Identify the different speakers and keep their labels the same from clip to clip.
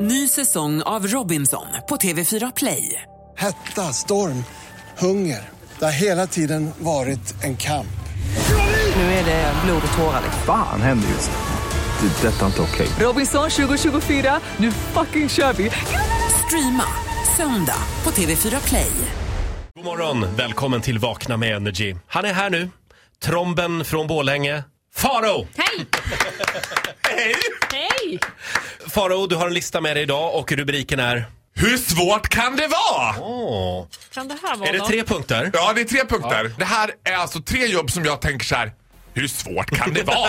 Speaker 1: Ny säsong av Robinson på TV4 Play.
Speaker 2: Hetta, storm, hunger. Det har hela tiden varit en kamp.
Speaker 1: Nu är det blod och tårar.
Speaker 3: Fan händer just nu. Det. är Detta är inte okej.
Speaker 1: Robinson 2024, nu fucking kör vi! Streama söndag på TV4 Play.
Speaker 4: God morgon, välkommen till Vakna med Energy. Han är här nu, tromben från Borlänge, Faro!
Speaker 5: Hej! Hej! Hej!
Speaker 4: Faro, du har en lista med dig idag och rubriken är...
Speaker 6: Hur svårt kan det vara?
Speaker 4: Åh,
Speaker 5: Kan det här vara
Speaker 4: är det
Speaker 5: något?
Speaker 4: tre punkter?
Speaker 6: Ja, det är tre punkter. Det här är alltså tre jobb som jag tänker så här. Hur svårt kan det vara?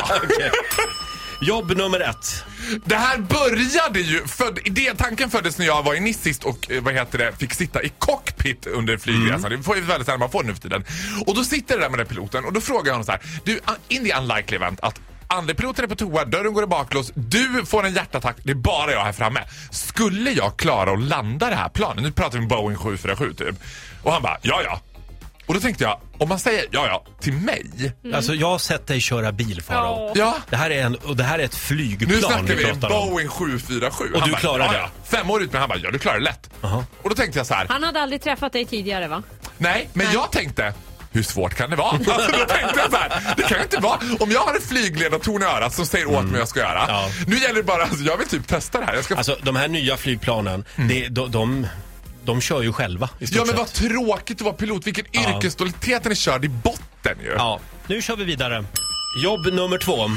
Speaker 4: Jobb nummer ett.
Speaker 6: det här började ju, föd, idé, tanken föddes när jag var i Nice sist och eh, vad heter det, fick sitta i cockpit under flygresan. Det får ju väldigt sällan man får nu för tiden. Och då sitter det där med den här piloten och då frågar jag honom så här. Du, uh, in the unlikely event att andre piloten är på toa, dörren går i baklås, du får en hjärtattack, det är bara jag här framme. Skulle jag klara att landa det här planet? Nu pratar vi om Boeing 747 typ. Och han bara, ja ja. Och då tänkte jag, om man säger ja ja till mig,
Speaker 4: Alltså, jag har sett dig köra bil, Faro.
Speaker 5: Mm. Ja.
Speaker 6: ja,
Speaker 4: Det här är, en, och det här är ett flygplan
Speaker 6: Nu snackar vi
Speaker 4: pratar om.
Speaker 6: Boeing 747.
Speaker 4: Och
Speaker 6: Han
Speaker 4: du klarar
Speaker 6: "Ja,
Speaker 4: det?"
Speaker 6: ja." Fem år ut, men han bara, ja du klarar det lätt.
Speaker 4: Aha.
Speaker 6: Och då tänkte jag så här,
Speaker 5: Han hade aldrig träffat dig tidigare va?
Speaker 6: nej, men jag tänkte, hur svårt kan det vara? Alltså, då tänkte jag så här, det kan ju inte vara. Om jag har en flygledartorn i örat som säger åt mig vad jag ska göra.
Speaker 4: Mm. Ja.
Speaker 6: Nu gäller det bara, alltså, jag vill typ testa det här. Jag ska
Speaker 4: Alltså, de här nya flygplanen, det, de, de, de kör ju själva i stort
Speaker 6: Mm. ja men
Speaker 4: sett.
Speaker 6: vad tråkigt att vara pilot, vilken yrkesstolthet den är körd i botten ju.
Speaker 4: Ja, nu kör vi vidare. Jobb nummer två.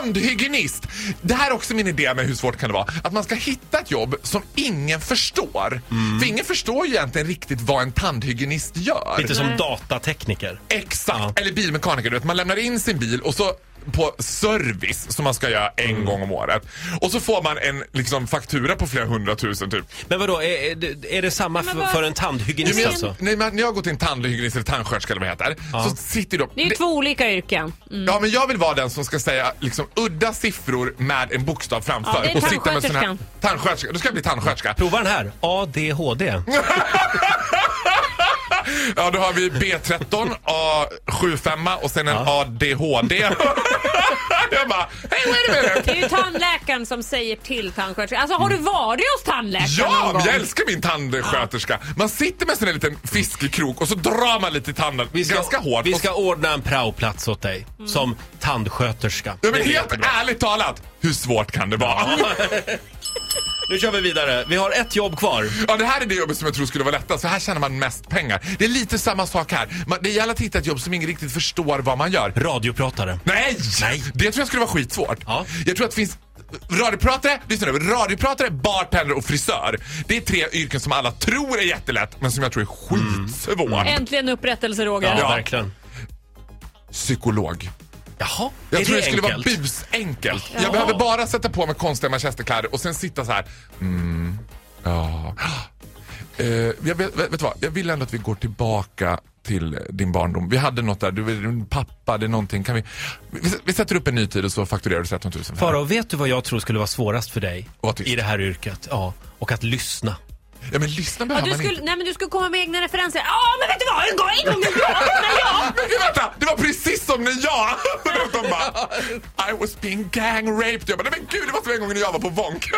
Speaker 6: Tandhygienist! Det här är också min idé med hur svårt kan det vara. Att man ska hitta ett jobb som ingen förstår.
Speaker 4: Mm.
Speaker 6: För ingen förstår ju egentligen riktigt vad en tandhygienist gör.
Speaker 4: Lite som datatekniker.
Speaker 6: Exakt!
Speaker 4: Ja.
Speaker 6: Eller bilmekaniker, du vet. Man lämnar in sin bil och så på service som man ska göra en gång om året. Och så får man en liksom, faktura på flera hundratusen typ.
Speaker 4: Men vadå, är, är, det, är det samma
Speaker 5: Men
Speaker 4: för,
Speaker 5: vad-
Speaker 4: för en
Speaker 6: Du
Speaker 4: tandhygienist
Speaker 6: men,
Speaker 4: alltså?
Speaker 6: nej, men, när jag går till en tandhygienist eller tandsköterska eller vad det heter. Så sitter de...
Speaker 5: Det är ju
Speaker 6: det-
Speaker 5: två olika yrken. Mm.
Speaker 6: Ja men jag vill vara den som ska säga liksom udda siffror med en bokstav framför.
Speaker 5: Ja, det är
Speaker 6: och sitta med sån här...
Speaker 5: tandsköterskan.
Speaker 6: Tandsköterska. Du ska jag bli tandsköterska.
Speaker 4: Prova den här. ADHD.
Speaker 6: Ja, då har vi B13, A75 och sen en ADHD. jag bara, hey wait a minute!
Speaker 5: Det är ju tandläkaren som säger till tandsköterskan. Alltså har du varit hos tandläkaren någon
Speaker 6: Ja,
Speaker 5: gång?
Speaker 6: men jag älskar min tandsköterska. Man sitter med en sån här liten fiskekrok och så drar man lite i tanden ganska hårt.
Speaker 4: Vi
Speaker 6: Och-
Speaker 4: ska ordna en praoplats åt dig
Speaker 5: Mm.
Speaker 4: som tandsköterska.
Speaker 6: Ja,
Speaker 4: Det
Speaker 6: men
Speaker 4: blir
Speaker 6: helt
Speaker 4: jättebra.
Speaker 6: ärligt talat, hur svårt kan det vara?
Speaker 4: Nu kör vi vidare. Vi har ett jobb kvar.
Speaker 6: Ja, det här är det jobbet som jag tror skulle vara lättast, för här tjänar man mest pengar. Det är lite samma sak här. Man, det gäller att hitta ett jobb som ingen riktigt förstår vad man gör.
Speaker 4: Radiopratare.
Speaker 6: Nej! Det tror jag skulle vara skitsvårt.
Speaker 4: Ja.
Speaker 6: Jag tror att det finns radiopratare, lyssna nu, radiopratare, bartender och frisör. Det är tre yrken som alla tror är jättelätt, men som jag tror är skitsvårt.
Speaker 4: Mm.
Speaker 5: Äntligen upprättelse Roger.
Speaker 4: Ja,
Speaker 6: Ja.
Speaker 4: verkligen.
Speaker 6: Psykolog.
Speaker 4: Jaha,
Speaker 6: Jag
Speaker 4: är
Speaker 6: tror det,
Speaker 4: det
Speaker 6: skulle
Speaker 4: enkelt?
Speaker 6: vara busenkelt.
Speaker 5: Ja.
Speaker 6: Jag behöver bara sätta på mig konstiga manchesterkläder och sen sitta så här. Mm, ja. Eh, jag vet, vet, vet du vad? Jag vill ändå att vi går tillbaka till din barndom. Vi hade något där, du är din pappa, det är någonting. Kan vi, vi, vi sätter upp en ny tid och så fakturerar du 13 000. för det här.
Speaker 4: Farao, vet du vad jag tror skulle vara svårast för dig
Speaker 6: Att vara tyst.
Speaker 4: i det här yrket? Ja, och att lyssna.
Speaker 6: Ja men lyssna
Speaker 5: Ja,
Speaker 6: behöver
Speaker 5: du
Speaker 6: man
Speaker 5: skulle,
Speaker 6: inte.
Speaker 5: nej men du skulle komma med egna referenser. Ja men vet du vad, en gång, en gång när jag, när jag.
Speaker 6: Ah, Men gud, vänta! Det var precis som när jag... De bara, I was being gang raped. Jag bara, nej men gud det var som en gång när jag var på Wonk.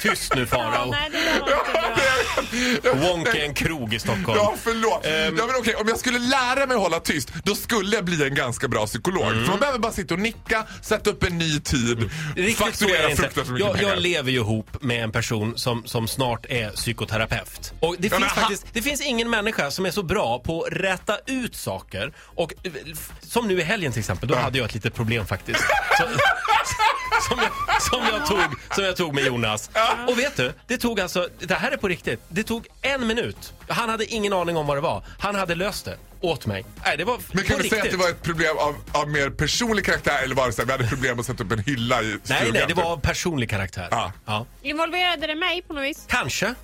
Speaker 4: Tyst nu
Speaker 5: Ja,
Speaker 4: Farao.
Speaker 5: nej det där var inte bra.
Speaker 4: Wonk är en krog i Stockholm. Ehm.
Speaker 6: Ja, förlåt. ja, men okej, om jag skulle lära mig att hålla tyst, då skulle jag bli en ganska bra psykolog.
Speaker 4: Mm.
Speaker 6: För man behöver bara sitta och nicka, sätta upp en ny tid,
Speaker 4: Riktigt så är
Speaker 6: fakturera
Speaker 4: det inte.
Speaker 6: fruktansvärt mycket
Speaker 4: Jag,
Speaker 6: pengar.
Speaker 4: jag lever ju ihop med en person som, som snart är psykoterapeut. Och det,
Speaker 6: men
Speaker 4: finns
Speaker 6: han-
Speaker 4: faktiskt, det finns ingen människa som är så bra på att räta ut saker. Och, eh, f- som nu i helgen till exempel, då hade jag ett litet problem faktiskt. Som, som, jag, som, jag tog, som jag tog med Jonas. Och vet du, det tog alltså, det här är på riktigt, det tog en minut. Han hade ingen aning om vad det var. Han hade löst det åt mig. Nej, det var
Speaker 6: men
Speaker 4: på
Speaker 6: kan du
Speaker 4: riktigt.
Speaker 6: säga att det var ett problem av, av mer personlig karaktär eller var det så här, vi hade problem att sätta upp en hylla i stugan?
Speaker 4: Nej, nej, det
Speaker 6: typ?
Speaker 4: var av personlig karaktär.
Speaker 6: Ja.
Speaker 4: Ja.
Speaker 5: Involverade det mig på något vis?
Speaker 4: Kanske.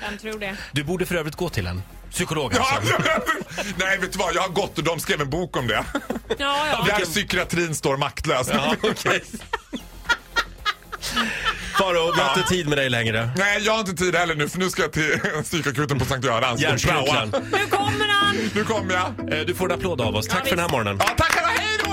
Speaker 5: Vem tror det?
Speaker 4: Du borde för övrigt gå till en psykolog
Speaker 6: Ja,
Speaker 4: alltså.
Speaker 6: nej, vet du vad? Jag har gått och de skrev en bok om det.
Speaker 5: Ja, ja.
Speaker 6: Där psykiatrin står maktlös.
Speaker 4: Ja, okej. Faro, vi har inte tid med dig längre.
Speaker 6: Nej, jag har inte tid heller nu för nu ska jag till psykakuten på Sankt Görans. De praoar.
Speaker 4: Hjärnskroklan.
Speaker 5: Nu kommer han!
Speaker 6: Nu kommer jag.
Speaker 4: Eh, Du får en applåd av oss. Tack för den här morgonen.
Speaker 6: Ja, tackar och hej då!